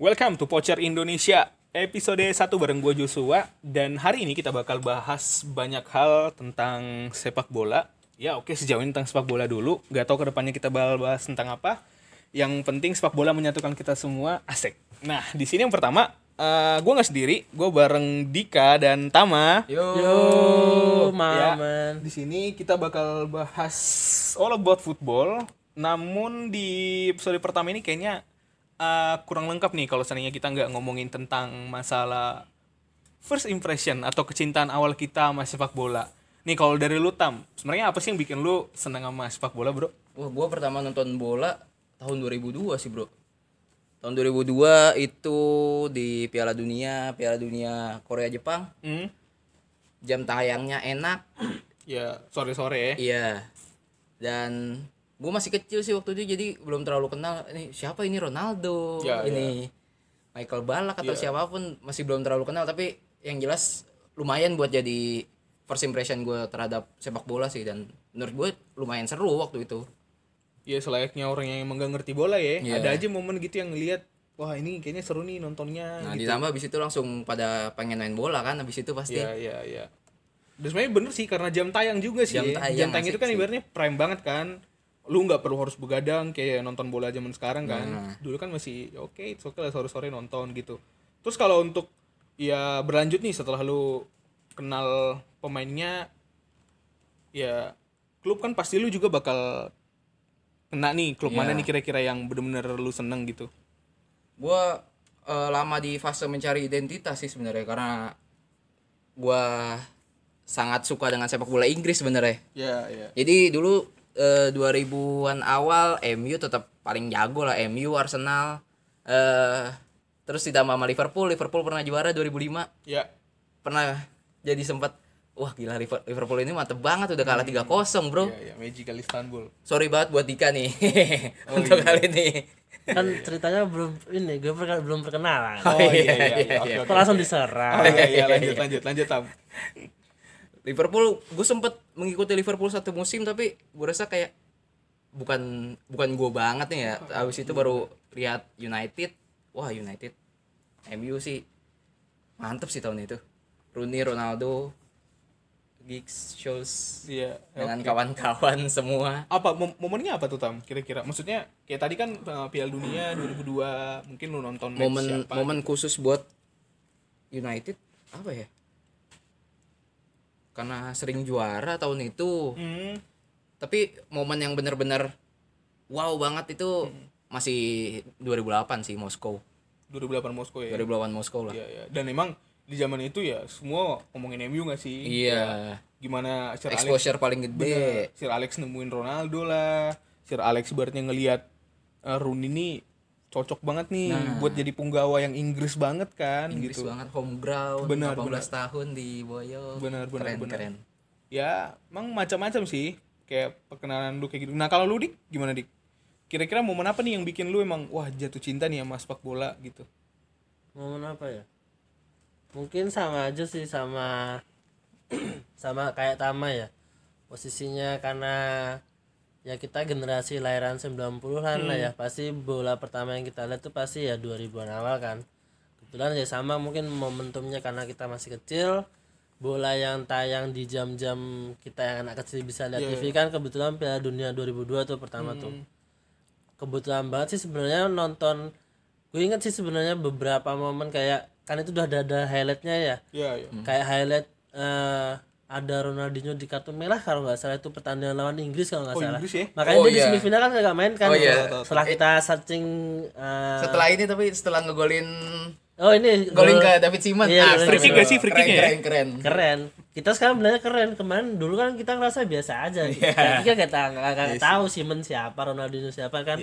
Welcome to Pocher Indonesia episode 1 bareng gue Joshua dan hari ini kita bakal bahas banyak hal tentang sepak bola. Ya oke sejauh ini tentang sepak bola dulu. Gak tau kedepannya kita bakal bahas tentang apa. Yang penting sepak bola menyatukan kita semua. Asik. Nah di sini yang pertama eh, gue nggak sendiri, gue bareng Dika dan Tama. Yo, Ya, maman. di sini kita bakal bahas all about football. Namun di episode pertama ini kayaknya uh, kurang lengkap nih kalau seandainya kita nggak ngomongin tentang masalah first impression atau kecintaan awal kita sama sepak bola. Nih kalau dari lu Tam, sebenarnya apa sih yang bikin lu seneng sama sepak bola, Bro? Wah, gua pertama nonton bola tahun 2002 sih, Bro. Tahun 2002 itu di Piala Dunia, Piala Dunia Korea Jepang. Hmm? Jam tayangnya enak. Ya, sore-sore ya. Iya. Dan gua masih kecil sih waktu itu jadi belum terlalu kenal ini siapa ini Ronaldo, Ya, ini Michael Ballack atau siapapun masih belum terlalu kenal tapi yang jelas lumayan buat jadi first impression gua terhadap sepak bola sih dan menurut gue lumayan seru waktu itu. Ya selayaknya orang yang emang nggak ngerti bola ya. Iya. Ada aja momen gitu yang ngelihat wah ini kayaknya seru nih nontonnya Nah, ditambah abis itu langsung pada pengen main bola kan abis itu pasti. Iya, iya, iya. Dan sebenarnya bener sih karena jam tayang juga sih. Jam ya. tayang, jam tayang itu asik kan sih. ibaratnya prime banget kan. Lu nggak perlu harus begadang kayak nonton bola zaman sekarang kan. Dulu kan masih ya oke, it's okay lah sore-sore nonton gitu. Terus kalau untuk ya berlanjut nih setelah lu kenal pemainnya ya klub kan pasti lu juga bakal kena nih klub mana nih kira-kira yang bener-bener lu seneng gitu. Gua eh, lama di fase mencari identitas sih sebenarnya karena gua sangat suka dengan sepak bola Inggris sebenarnya. Ya, ya. Jadi dulu eh, 2000-an awal MU tetap paling jago lah MU Arsenal eh terus ditambah sama Liverpool, Liverpool pernah juara 2005. Ya. Pernah jadi sempat wah gila Liver- Liverpool ini mantep banget udah kalah 3-0, Bro. Ya, ya, Magical Istanbul. Sorry banget buat Dika nih untuk kali ini. kan ceritanya belum ini gue perke- belum perkenalan Oh, iya, iya, iya. Oke, Kok oke. langsung diserang Oh, iya, iya, lanjut, lanjut, lanjut, Tam. Liverpool gue sempet mengikuti Liverpool satu musim tapi gue rasa kayak bukan bukan gue banget nih ya abis itu baru lihat United wah United MU sih mantep sih tahun itu Rooney Ronaldo Giggs Scholes Iya. dengan kawan-kawan semua apa mom- momennya apa tuh tam kira-kira maksudnya kayak tadi kan eh, Piala Dunia 2002 mungkin lu nonton match ya. momen siapa gitu. momen khusus buat United apa ya karena sering juara tahun itu Hmm, tapi momen yang bener-bener wow banget itu Hmm. masih 2008 sih Moskow 2008 Moskow ya 2008 Moskow lah Iya, iya. dan emang di zaman itu ya semua ngomongin MU nggak sih iya gimana Sir Alex exposure paling gede Sir Alex nemuin Ronaldo lah Sir Alex ibaratnya ngelihat eh, Rooney ini cocok banget nih buat jadi punggawa yang Inggris banget kan Nah. Inggris gitu banget home ground Benar, 18 tahun di Boyong Benar, benar, keren benar. keren ya emang macam-macam sih kayak perkenalan lu kayak gitu nah kalau lu dik gimana dik kira-kira momen apa nih yang bikin lu emang wah jatuh cinta nih sama sepak bola gitu momen apa ya mungkin sama aja sih sama sama kayak Tama ya posisinya karena ya kita generasi lahiran 90-an lah Hmm. ya pasti bola pertama yang kita lihat tuh pasti ya 2000-an awal kan kebetulan ya sama mungkin momentumnya karena kita masih kecil bola yang tayang di jam-jam kita yang anak kecil bisa Iya, lihat TV kan kebetulan Piala Dunia 2002 tuh pertama tuh Hmm. kebetulan banget sih sebenarnya nonton gue inget sih sebenarnya beberapa momen kayak kan itu udah ada, ada highlightnya ya ya ya Hmm. kayak highlight eh, ada Ronaldinho di kartu merah kalau nggak salah itu pertandingan lawan Inggris kalau nggak Oh, salah Inggris ya? makanya Oh, dia di iya. semifinal kan nggak main kan Oh, iya. setelah kita searching Nah. eh, setelah ini tapi setelah ngegolin oh ini golin gol- ke David Simon Ah, Iya, golin free ke- kick nggak sih free keren, kick ya? keren keren keren kita sekarang bilangnya keren kemarin dulu kan kita ngerasa biasa aja tapi kan kita nggak Iya nggak tahu Simon siapa Ronaldinho siapa kan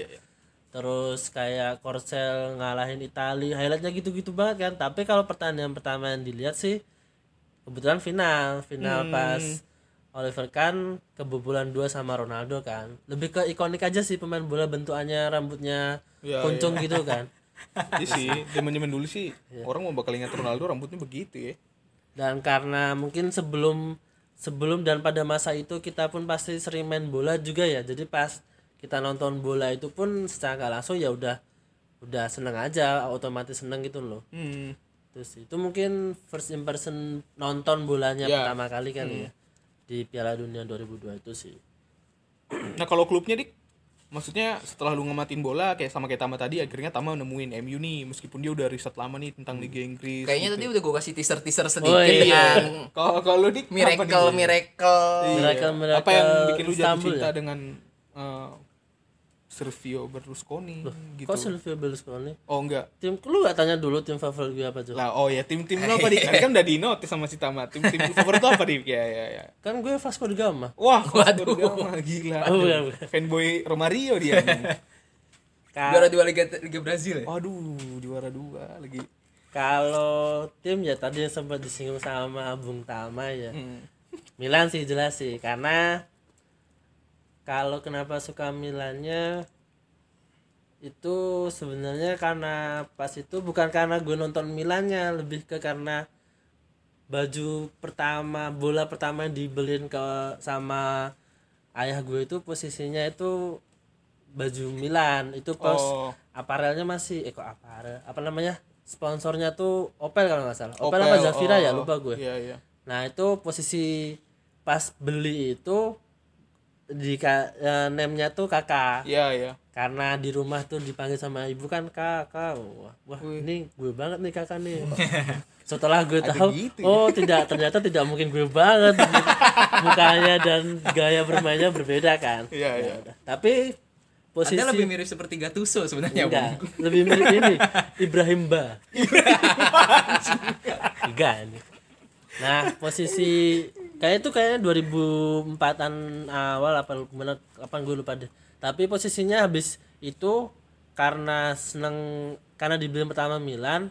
terus kayak Korsel ngalahin Itali highlightnya gitu-gitu banget kan tapi kalau pertandingan pertama yang dilihat sih kebetulan final Hmm. final pas Oliver Kahn kebobolan dua sama Ronaldo kan lebih ke ikonik aja sih pemain bola bentukannya rambutnya Iya, kuncung gitu kan Iya sih zaman-zaman dulu sih orang mau bakal ingat Ronaldo rambutnya begitu ya dan karena mungkin sebelum sebelum dan pada masa itu kita pun pasti sering main bola juga ya jadi pas kita nonton bola itu pun secara nggak langsung ya udah udah seneng aja otomatis seneng gitu loh Hmm. terus itu mungkin first impression nonton bolanya Ya. pertama kali kan ya di Piala Dunia 2002 itu sih Nah kalau klubnya dik, maksudnya setelah lu ngematin bola kayak sama kayak Tama tadi, akhirnya Tama nemuin MU nih, meskipun dia udah riset lama nih tentang Liga Inggris. Kayaknya tadi udah gue kasih teaser-teaser sedikit Oh, iya. dengan Kalau kalau lu dik, apa nih? miracle miracle. Iya. Miracle- miracle Apa yang bikin lu jatuh Istanbul cinta ya? dengan eh, Silvio Berlusconi gitu? kok Silvio Berlusconi Oh enggak. tim lu gak tanya dulu tim favorit gue apa Jo Lah oh ya tim-tim Eh. lu apa dik? Tadi kan udah di notis sama si Tama. Tim-tim lu favorit lu apa dik? Ya ya ya. kan gue Vasco da Gama Wah, waduh, ah, gila. Oh, bukan, bukan. Fanboy Romario dia. nih. Juara dua Liga Liga Brazil ya. Waduh, juara dua lagi. kalau tim ya tadi yang sempat disinggung sama Bung Tama ya Hmm. Milan sih jelas sih karena kalau kenapa suka Milannya itu sebenarnya karena pas itu bukan karena gue nonton Milannya lebih ke karena baju pertama bola pertama yang dibeliin ke sama ayah gue itu posisinya itu baju Milan itu pas Oh. aparelnya masih eh kok aparel apa namanya sponsornya tuh Opel kalau nggak salah Opel, Opel, apa Zafira ya oh, lupa gue Iya, iya. Nah itu posisi pas beli itu di ka, eh, name-nya tuh kakak Iya, iya. karena di rumah tuh dipanggil sama ibu kan kakak wah, wah ini gue banget nih kakak nih setelah gue tahu gitu oh tidak ternyata tidak mungkin gue banget mukanya dan gaya bermainnya berbeda kan Iya, Ya iya. udah. tapi posisi Iya. Anda lebih mirip seperti Gattuso sebenarnya. enggak Bung. lebih mirip ini Ibrahim Ba enggak ini nah posisi kayak itu kayaknya 2004an awal apa gimana kapan gue lupa deh tapi posisinya habis itu karena seneng karena dibeli pertama Milan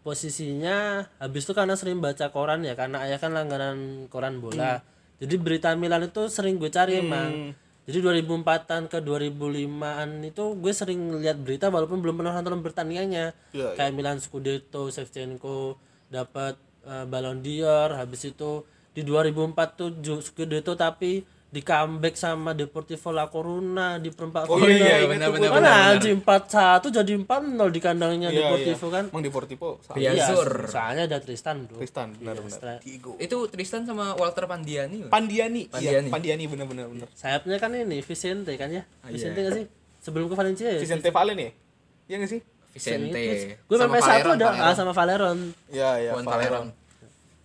posisinya habis itu karena sering baca koran ya karena ayah kan langganan koran Hmm. bola jadi berita Milan itu sering gue cari emang jadi 2004an ke 2005an itu gue sering lihat berita walaupun belum pernah nonton pertandingannya Iya, kayak Milan Scudetto Shevchenko dapat eh, Ballon d'Or habis itu di 2004 tuh Ju- Scudetto tapi di comeback sama Deportivo La Coruna di perempat Oh, final. iya, iya, itu gue- benar, benar, benar. Mana anjing 4-1 jadi 4-0 di kandangnya Iya, Deportivo iya. kan Emang Deportivo sama Iya. Azur. soalnya ada Tristan bro. Tristan, Iya, benar benar. Stra- Itu Tristan sama Walter Pandiani. loh. Pandiani. Iya, Pandiani. Pandiani benar benar benar. Sayapnya kan ini Vicente kan ya? Ah, iya. Vicente nggak sih? Sebelum ke Valencia ya? Vicente Valen ya? Iya enggak sih? Vicente. Gue Sama sampai satu Valeron, ada Valeron. ah, sama Valeron. Iya, iya. Juan Valeron.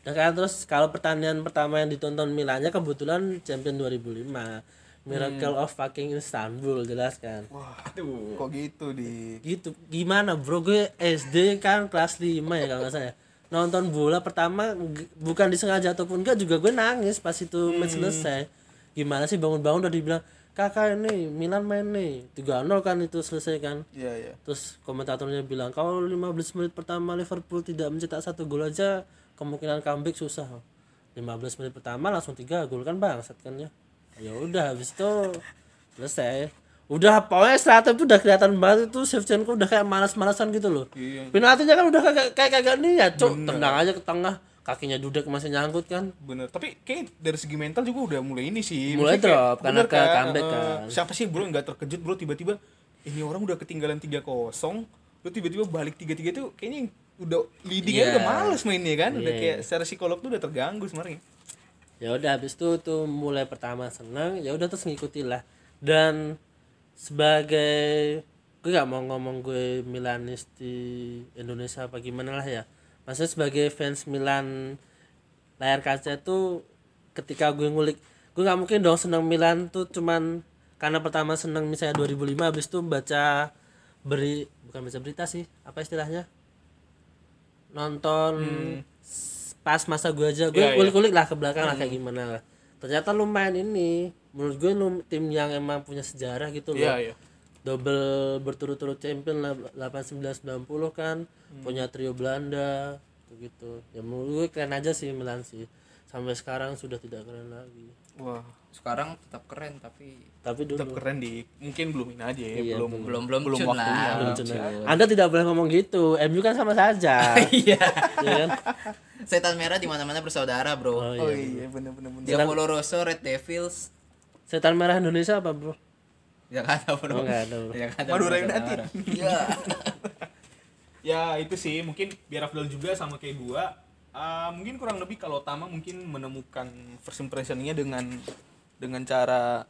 Nah, kan terus kalau pertandingan pertama yang ditonton Milannya kebetulan Champion 2005. Hmm. Miracle of fucking Istanbul jelas kan. Aduh. Kok gitu di Gitu. Gimana bro gue SD kan kelas 5 ya kalau nggak salah. ya. Nonton bola pertama g- bukan disengaja ataupun enggak juga gue nangis pas itu match selesai. Gimana sih bangun-bangun udah dibilang kakak ini Milan main nih 3-0 kan itu selesai kan. Iya, iya. Terus komentatornya bilang kalau 15 menit pertama Liverpool tidak mencetak satu gol aja kemungkinan comeback susah. 15 menit pertama langsung tiga gol kan bangsat kan ya. Ya udah habis itu selesai. Udah pokoknya strategi itu udah kelihatan banget itu Shevchenko udah kayak malas-malasan gitu loh. Iya. Penaltinya kan udah kagak kayak kagak niat, cuk. Tendang aja ke tengah, kakinya dudek masih nyangkut kan. Bener, tapi kayak dari segi mental juga udah mulai ini sih Maksudnya Mulai kayak, drop, karena bener ke comeback eh, kan. Siapa sih bro yang gak terkejut bro tiba-tiba Ini orang udah ketinggalan 3-0 Lu tiba-tiba balik 3-3 tuh kayaknya yang udah leadingnya Iya. udah males mainnya kan Udah Iya, kayak secara psikolog tuh udah terganggu sebenarnya ya udah habis itu tuh mulai pertama seneng ya udah terus ngikutilah dan sebagai gue gak mau ngomong gue Milanis di Indonesia apa gimana lah ya maksudnya sebagai fans Milan layar kaca tuh ketika gue ngulik gue nggak mungkin dong seneng Milan tuh cuman karena pertama seneng misalnya 2005 habis itu baca beri bukan baca berita sih apa istilahnya nonton s- pas masa gue aja gue Hmm. Iya, iya. kulik-kulik lah ke belakang lah kayak Hmm. gimana lah ternyata lumayan ini menurut gue lum tim yang emang punya sejarah gitu loh Iya, iya double berturut-turut champion lah, 89 90 kan Hmm. punya trio Belanda gitu ya menurut gue keren aja sih Milan sih sampai sekarang sudah tidak keren lagi Wah, Sekarang tetap keren tapi tapi dulu tetap keren di Mungkin belum ini aja ya Iya, Belum belum belum belum belum waktunya lah. Iya. Belum jenuh. Anda tidak boleh ngomong gitu. MU kan sama saja. Iya. ya kan? Setan merah di mana-mana bersaudara, Bro. Oh iya Iya, bener-bener Diablo Rosso, Red Devils, Setan merah Indonesia apa, Bro? Jakarta bro. Ya kan, Oh, nggak ada, bro. Jakarta. Madura bro, United. Jakarta. Iya. ya itu sih mungkin biar Afdal juga sama kayak gua ah, mungkin kurang lebih kalau Tama mungkin menemukan first impressionnya dengan dengan cara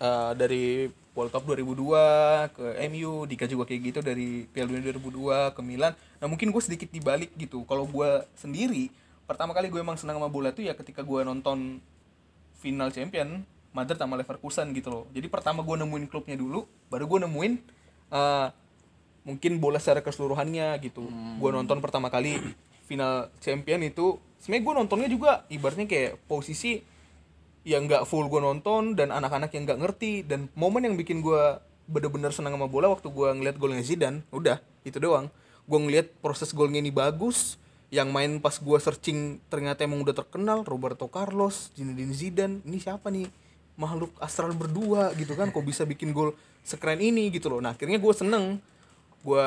eh, dari World Cup 2002 ke MU dikaji gua kayak gitu dari Piala Dunia 2002 ke Milan nah mungkin gue sedikit dibalik gitu kalau gua sendiri pertama kali gue emang senang sama bola tuh ya ketika gua nonton final champion Madrid sama Leverkusen gitu loh jadi pertama gua nemuin klubnya dulu baru gua nemuin eh, mungkin bola secara keseluruhannya gitu. Gua nonton pertama kali final champion itu sebenarnya gue nontonnya juga ibaratnya kayak posisi yang nggak full gue nonton dan anak-anak yang nggak ngerti dan momen yang bikin gua bener-bener senang sama bola waktu gua ngeliat golnya Zidane udah itu doang gua ngeliat proses golnya ini bagus yang main pas gua searching ternyata emang udah terkenal Roberto Carlos Zinedine Zidane ini siapa nih makhluk astral berdua gitu kan kok bisa bikin gol sekeren ini gitu loh nah akhirnya gue seneng gue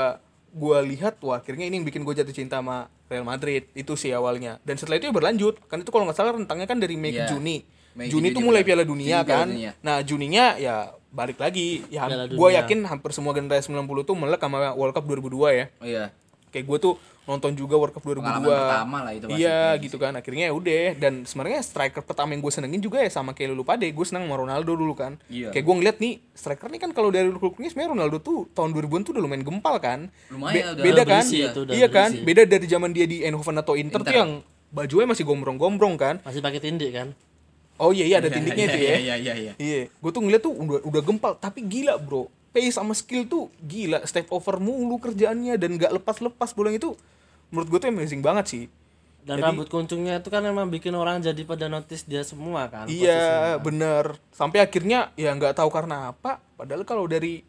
gue lihat wah akhirnya ini yang bikin gue jatuh cinta sama Real Madrid itu sih awalnya dan setelah itu ya berlanjut kan itu kalau nggak salah rentangnya kan dari Mei Iya. ke Juni Mei ke Juni itu Juni, mulai benar. Piala Dunia Juni Piala kan Dunia. nah Juninya ya balik lagi ya Piala gue Dunia. yakin hampir semua generasi 90 tuh melek sama World Cup 2002 ya Oh iya. kayak gue tuh nonton juga World Cup 2002 Pengalaman pertama lah itu pasti. iya gitu kan akhirnya ya udah dan sebenarnya striker pertama yang gue senengin juga ya sama kayak Lulu Pade gue seneng sama Ronaldo dulu kan Iya. kayak gue ngeliat nih striker nih kan kalau dari klub-klubnya sebenarnya Ronaldo tuh tahun 2000-an tuh udah lumayan gempal kan Lumayan, udah- beda udah kan berisi itu, udah iya kan berisi. beda dari zaman dia di Eindhoven atau Inter, tuh yang bajunya masih gombrong-gombrong kan masih pakai tindik kan oh iya iya ada tindiknya itu ya Iya iya iya, iya. Iya, gue tuh ngeliat tuh udah, udah gempal, tapi gila bro. Pace sama skill tuh gila, step over mulu kerjaannya dan gak lepas-lepas bola itu. Menurut gue tuh amazing banget sih. dan rambut kuncungnya itu kan memang bikin orang jadi pada notice dia semua kan Iya, bener. Sampai akhirnya ya nggak tahu karena apa. Padahal kalau dari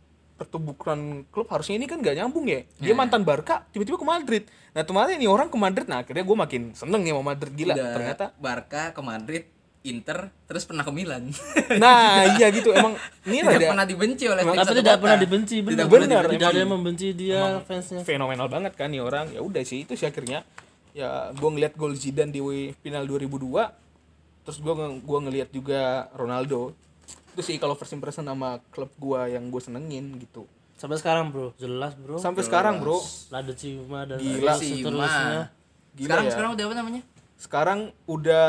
pertubuhan klub harusnya ini kan nggak nyambung ya. Dia mantan Barca, tiba-tiba ke Madrid. Nah, kemarin ini orang ke Madrid, nah akhirnya gue makin seneng nih sama Madrid gila. Udah Ternyata Barca ke Madrid, Inter, terus pernah ke Milan. Nah, iya gitu. Emang ini tidak ada pernah dibenci oleh fans tapi satu tidak kota. pernah dibenci benar Tidak pernah benar dibenci. tidak ada yang membenci dia fansnya fenomenal banget kan nih orang ya udah sih itu sih akhirnya ya gue ngeliat gol Zidane di final 2002 terus gue gua ngeliat juga Ronaldo itu sih kalau first impression sama klub gua yang gue senengin gitu sampai sekarang bro jelas bro sampai sekarang bro Lada Cima dan Gila. Si seterusnya Ma. Gila sekarang ya. sekarang udah apa namanya? sekarang udah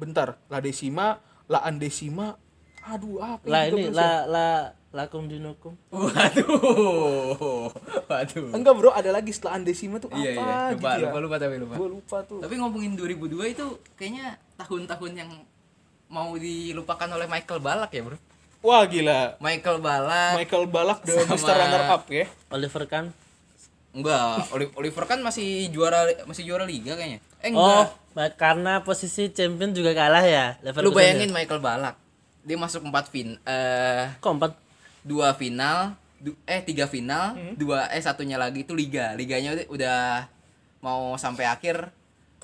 bentar La Decima La Andesima aduh apa lah yang ini 13 ya? la la lakum dinukum Waduh. Waduh. enggak bro ada lagi setelah Andesima tuh Iya apa iya, lupa, gitu ya lupa lupa tapi lupa. gue lupa tuh Tapi ngomongin 2002 itu kayaknya tahun-tahun yang mau dilupakan oleh Michael Balak ya, Bro. wah gila Michael Balak Michael Balak the Sama- Mr. Runner Up ya Oliver kan enggak, Oli- Oliver kan masih juara masih juara liga kayaknya. Eh oh enggak. ma- karena posisi champion juga kalah ya Lu Leverkusen bayangin Michael Balak. Dia masuk 4 fin eh ya? kok empat dua final, du- eh tiga final, Hmm. dua eh satunya lagi itu liga. Liganya udah- udah mau sampai akhir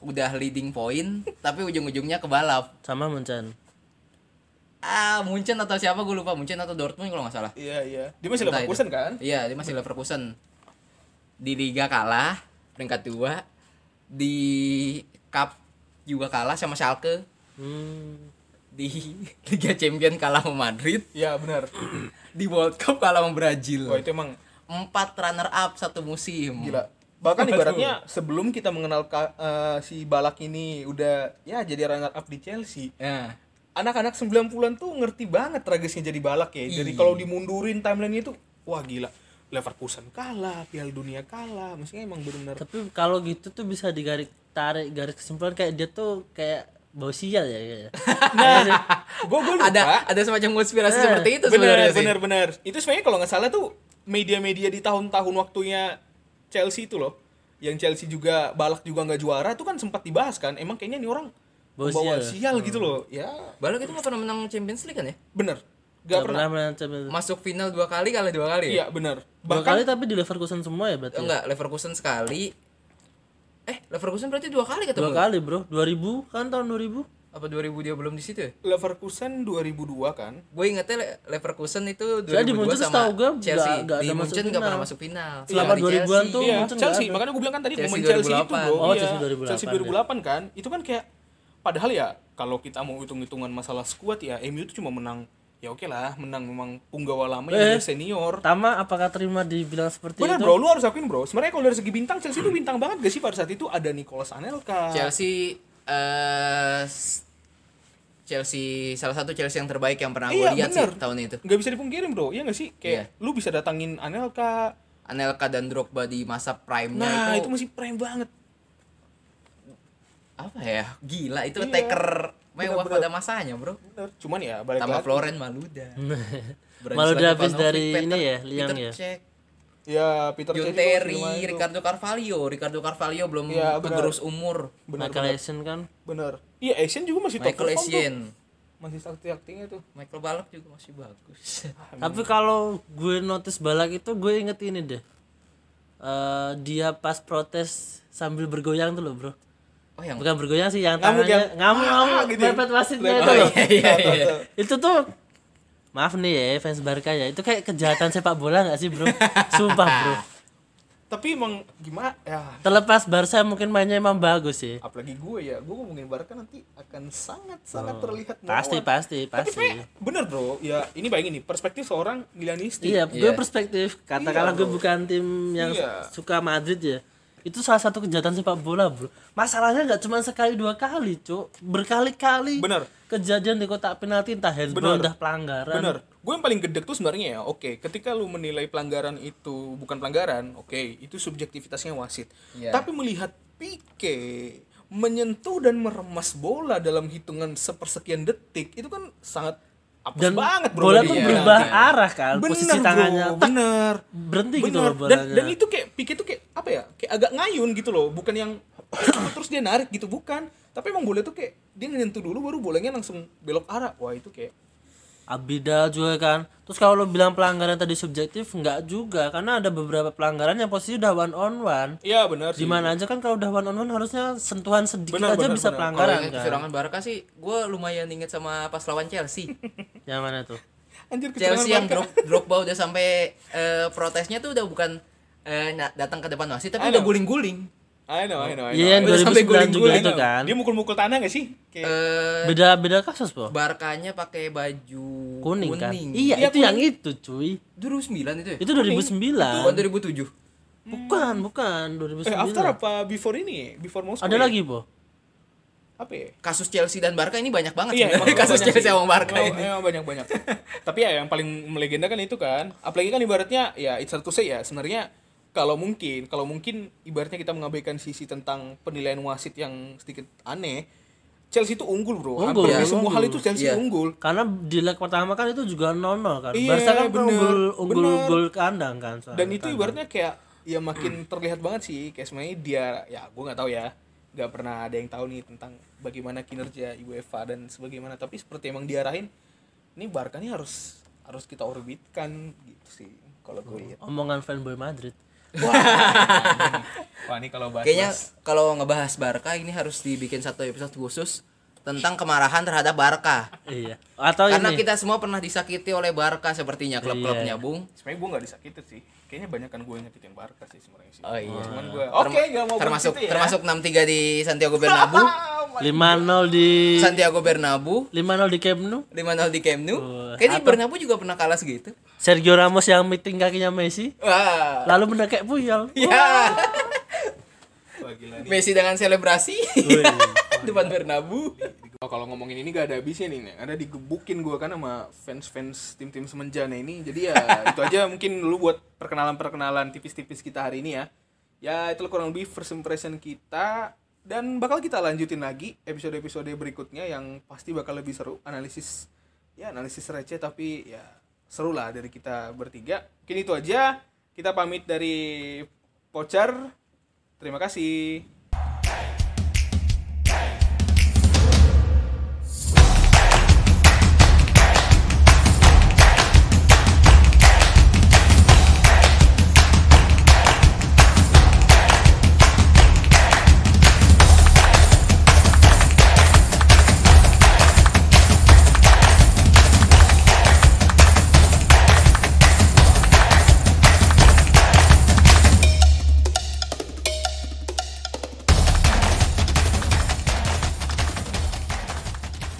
udah leading point tapi ujung-ujungnya ke balap. sama Munchen Ah, Munchen atau siapa gue lupa, Munchen atau Dortmund kalau nggak salah. iya iya dia masih Entah Leverkusen itu. kan Iya, dia masih Leverkusen. Di liga kalah, peringkat dua Di cup juga kalah sama Schalke. hmm. Di Liga Champion kalah sama Madrid, Iya benar. di World Cup kalah sama Wah Brazil. itu emang Empat runner up satu musim. gila. Bahkan ibaratnya sebelum kita mengenal ka- eh, si Balak ini udah ya jadi runner up di Chelsea. Ya. Anak-anak 90-an tuh ngerti banget tragisnya jadi Balak ya. Iya. Jadi kalau dimundurin timelinenya tuh wah gila. Leverkusen kalah, Piala Dunia kalah. Maksudnya emang benar-benar tapi kalau gitu tuh bisa digarik tarik garis kesimpulan kayak dia tuh kayak bau sial ya Nah, kayaknya gua gua lupa. Eh, ada ada semacam konspirasi seperti itu bener sebenarnya sih. bener bener itu sebenarnya kalau nggak salah tuh media-media di tahun-tahun waktunya Chelsea itu loh yang Chelsea juga balak juga nggak juara itu kan sempat dibahas kan emang kayaknya nih orang Bawa bawa sial. sial gitu Hmm. loh ya Balak itu nggak pernah menang Champions League kan ya? bener Nggak nggak pernah pernah menang Champions League. Masuk final dua kali kalah dua kali. iya ya? bener dua bahkan kali tapi di Leverkusen semua ya berarti ya? Enggak, Leverkusen sekali. Eh, Leverkusen berarti dua kali dua ketemu. kali bro 2000 kan tahun 2000 Apa 2000 dia belum di situ ya? Leverkusen 2002 kan Gue ingetnya Le- Leverkusen itu 2002 Soalnya di Munchen sama setahu gue Chelsea. nggak- nggak di ada masuk Munchen nggak final. pernah masuk final. Selama Kecuali 2000-an Chelsea. tuh iya Munchen Chelsea nggak ada. makanya gue bilang kan tadi Chelsea momen Chelsea itu 2008. bro Oh, iya. Chelsea 2008, Chelsea 2008 kan itu kan kayak padahal ya kalau kita mau hitung-hitungan masalah skuad ya MU itu cuma menang ya oke lah menang memang punggawa lama yang udah senior Tama apakah terima dibilang seperti Bener itu? bro, lu harus akuin bro. Sebenarnya kalau dari segi bintang Chelsea itu bintang banget gak sih pada saat itu ada Nicolas Anelka. Chelsea eh s- Chelsea salah satu Chelsea yang terbaik yang pernah gue Iya, lihat bener. sih tahun itu. Gak bisa dipungkirin bro, iya gak sih? Kayak lu bisa datangin Anelka. Anelka dan Drogba di masa prime-nya Nah itu itu, masih prime banget. apa ya? Gila itu Iya. taker mewah Bener-bener. pada masanya, Bro. Bener. Cuman ya balik Tambah lagi. Floren Maluda. Branislav Malu udah habis Ivanovic, dari Peter- ini ya, Liang Peter ya. Cech, Ya Peter John Cech juga Terry, masih lumayan tuh. Ricardo Carvalho, Ricardo Carvalho belum Iya, bener. kegerus umur. Bener, Michael bener, Essien kan bener. Iya Asian juga masih top Michael perform tuh. Essien, Masih sakti-aktingnya tuh. Michael Balak juga masih bagus. Tapi kalau gue notice balak itu gue inget ini deh. Eh, dia pas protes sambil bergoyang tuh loh, Bro. Oh yang Bukan bergoyang sih, yang Ngamuk tangannya yang- ngamuk ngamuk gitu ya? mepet wasitnya Mepet itu loh. iya, iya. Itu tuh Maaf nih ya fans Barca ya, itu kayak kejahatan sepak bola gak sih bro? Sumpah bro Tapi emang gimana ya Terlepas Barca mungkin mainnya emang bagus sih apalagi gue ya gue ngomongin Barca nanti akan sangat sangat terlihat Pasti, melawan. pasti, Tapi pasti. Pe, bener bro ya ini bayangin nih perspektif seorang Milanisti Iya, gue Iya. perspektif Katakanlah gue bukan tim yang Iya. suka Madrid ya Itu salah satu kejahatan sepak bola bro Masalahnya gak cuma sekali dua kali cuk Berkali-kali Bener. Kejadian di kotak penalti entah handball entah pelanggaran Bener. Gue yang paling gede tuh sebenarnya ya, oke, ketika lu menilai pelanggaran itu bukan pelanggaran, oke, itu subjektivitasnya wasit. Iya. Tapi melihat Pique menyentuh dan meremas bola dalam hitungan sepersekian detik, itu kan sangat apes Dan banget bro. bola bagi tuh dia. berubah arah kan Bener, Posisi tangannya bro, tek, bener. Berhenti gitu Bener. loh dan, bolanya dan itu kayak Pique tuh kayak apa ya? Kayak agak ngayun gitu loh, bukan yang terus dia narik gitu, bukan. Tapi emang bola tuh kayak dia nyentuh dulu baru bolanya langsung belok arah. Wah, itu kayak Abidal juga kan Terus kalau lo bilang pelanggaran tadi subjektif Enggak juga Karena ada beberapa pelanggaran yang posisi udah one on one Iya benar sih. Gimana aja kan kalau udah one on one harusnya sentuhan sedikit Bener, aja bener, bisa bener. Kalau pelanggaran yang kan kecurangan Barca sih, gue lumayan inget sama pas lawan Chelsea. Yang mana tuh? Anjir kecurangan Chelsea yang Barca. drop Drogba udah sampai eh, protesnya tuh udah bukan eh, na- datang ke depan wasit tapi I udah know. guling-guling. I know, I know, I know. Iya yang Udah sampai 2009 juga guling-guling I itu know. kan Dia mukul-mukul tanah gak sih? Kayak Eh Beda-beda kasus po Barkanya pakai baju kuning, kan? Iya. Iya, itu yang itu cuy 2009 itu ya? Itu Bukan 2007. 2009 Bukan, bukan 2009 eh, after apa before ini? Before Moskow. ya? Ada lagi po Apa ya? Kasus Chelsea dan Barca ini banyak banget Iya, sebenarnya. emang kasus banyak Chelsea sih. sama Barca Emang- ini. Emang banyak-banyak. Tapi ya yang paling melegenda kan itu kan. Apalagi kan ibaratnya ya it's hard to say ya sebenarnya kalau mungkin, kalau mungkin ibaratnya kita mengabaikan sisi tentang penilaian wasit yang sedikit aneh, Chelsea itu unggul, Bro. Unggul, Hampir ya, di semua unggul. hal itu Chelsea Iya. unggul. Karena di leg pertama kan itu juga 0-0 kan Iya, Barca kan bener, unggul, unggul bener. gol kandang kan soalnya dan itu kan. ibaratnya kayak ya makin terlihat banget sih kayak sebenarnya dia ya gue nggak tahu ya nggak pernah ada yang tahu nih tentang bagaimana kinerja UEFA dan sebagaimana tapi seperti emang diarahin ini Barca nih harus harus kita orbitkan gitu sih kalau gue Oh. lihat Omongan fanboy Madrid wah ini kalau bahas Kayaknya kalau ngebahas Barca ini harus dibikin satu episode khusus tentang kemarahan terhadap Barca. Iya Atau Karena ini Iya. kita semua pernah disakiti oleh Barca sepertinya klub-klubnya, Bung. sebenarnya gue nggak disakitin sih kayaknya banyak kan gue yang nyakitin Barca sih sebenarnya sih Oh iya. cuman gue oke nggak mau termasuk begitu ya. termasuk 63 di Santiago Bernabeu, 5-0 di Santiago Bernabeu, 5-0 di Camp Nou 5-0 di Camp Nou. Wah, Kayaknya Bernabeu juga pernah kalah segitu. Sergio Ramos yang meeting kakinya Messi Wah. lalu mendekek Puyol Ya. Wah, gila nih. Messi dengan selebrasi Wih. depan Bernabeu. Oh, kalau ngomongin ini gak ada habisnya nih, Nek. ada digebukin gue kan sama fans-fans tim-tim semenjana ini. Jadi ya itu aja mungkin dulu buat perkenalan-perkenalan tipis-tipis kita hari ini ya. Ya itu kurang lebih first impression kita dan bakal kita lanjutin lagi episode-episode berikutnya yang pasti bakal lebih seru analisis ya analisis receh tapi ya seru lah dari kita bertiga. Mungkin itu aja. Kita pamit dari Pocar. Terima kasih.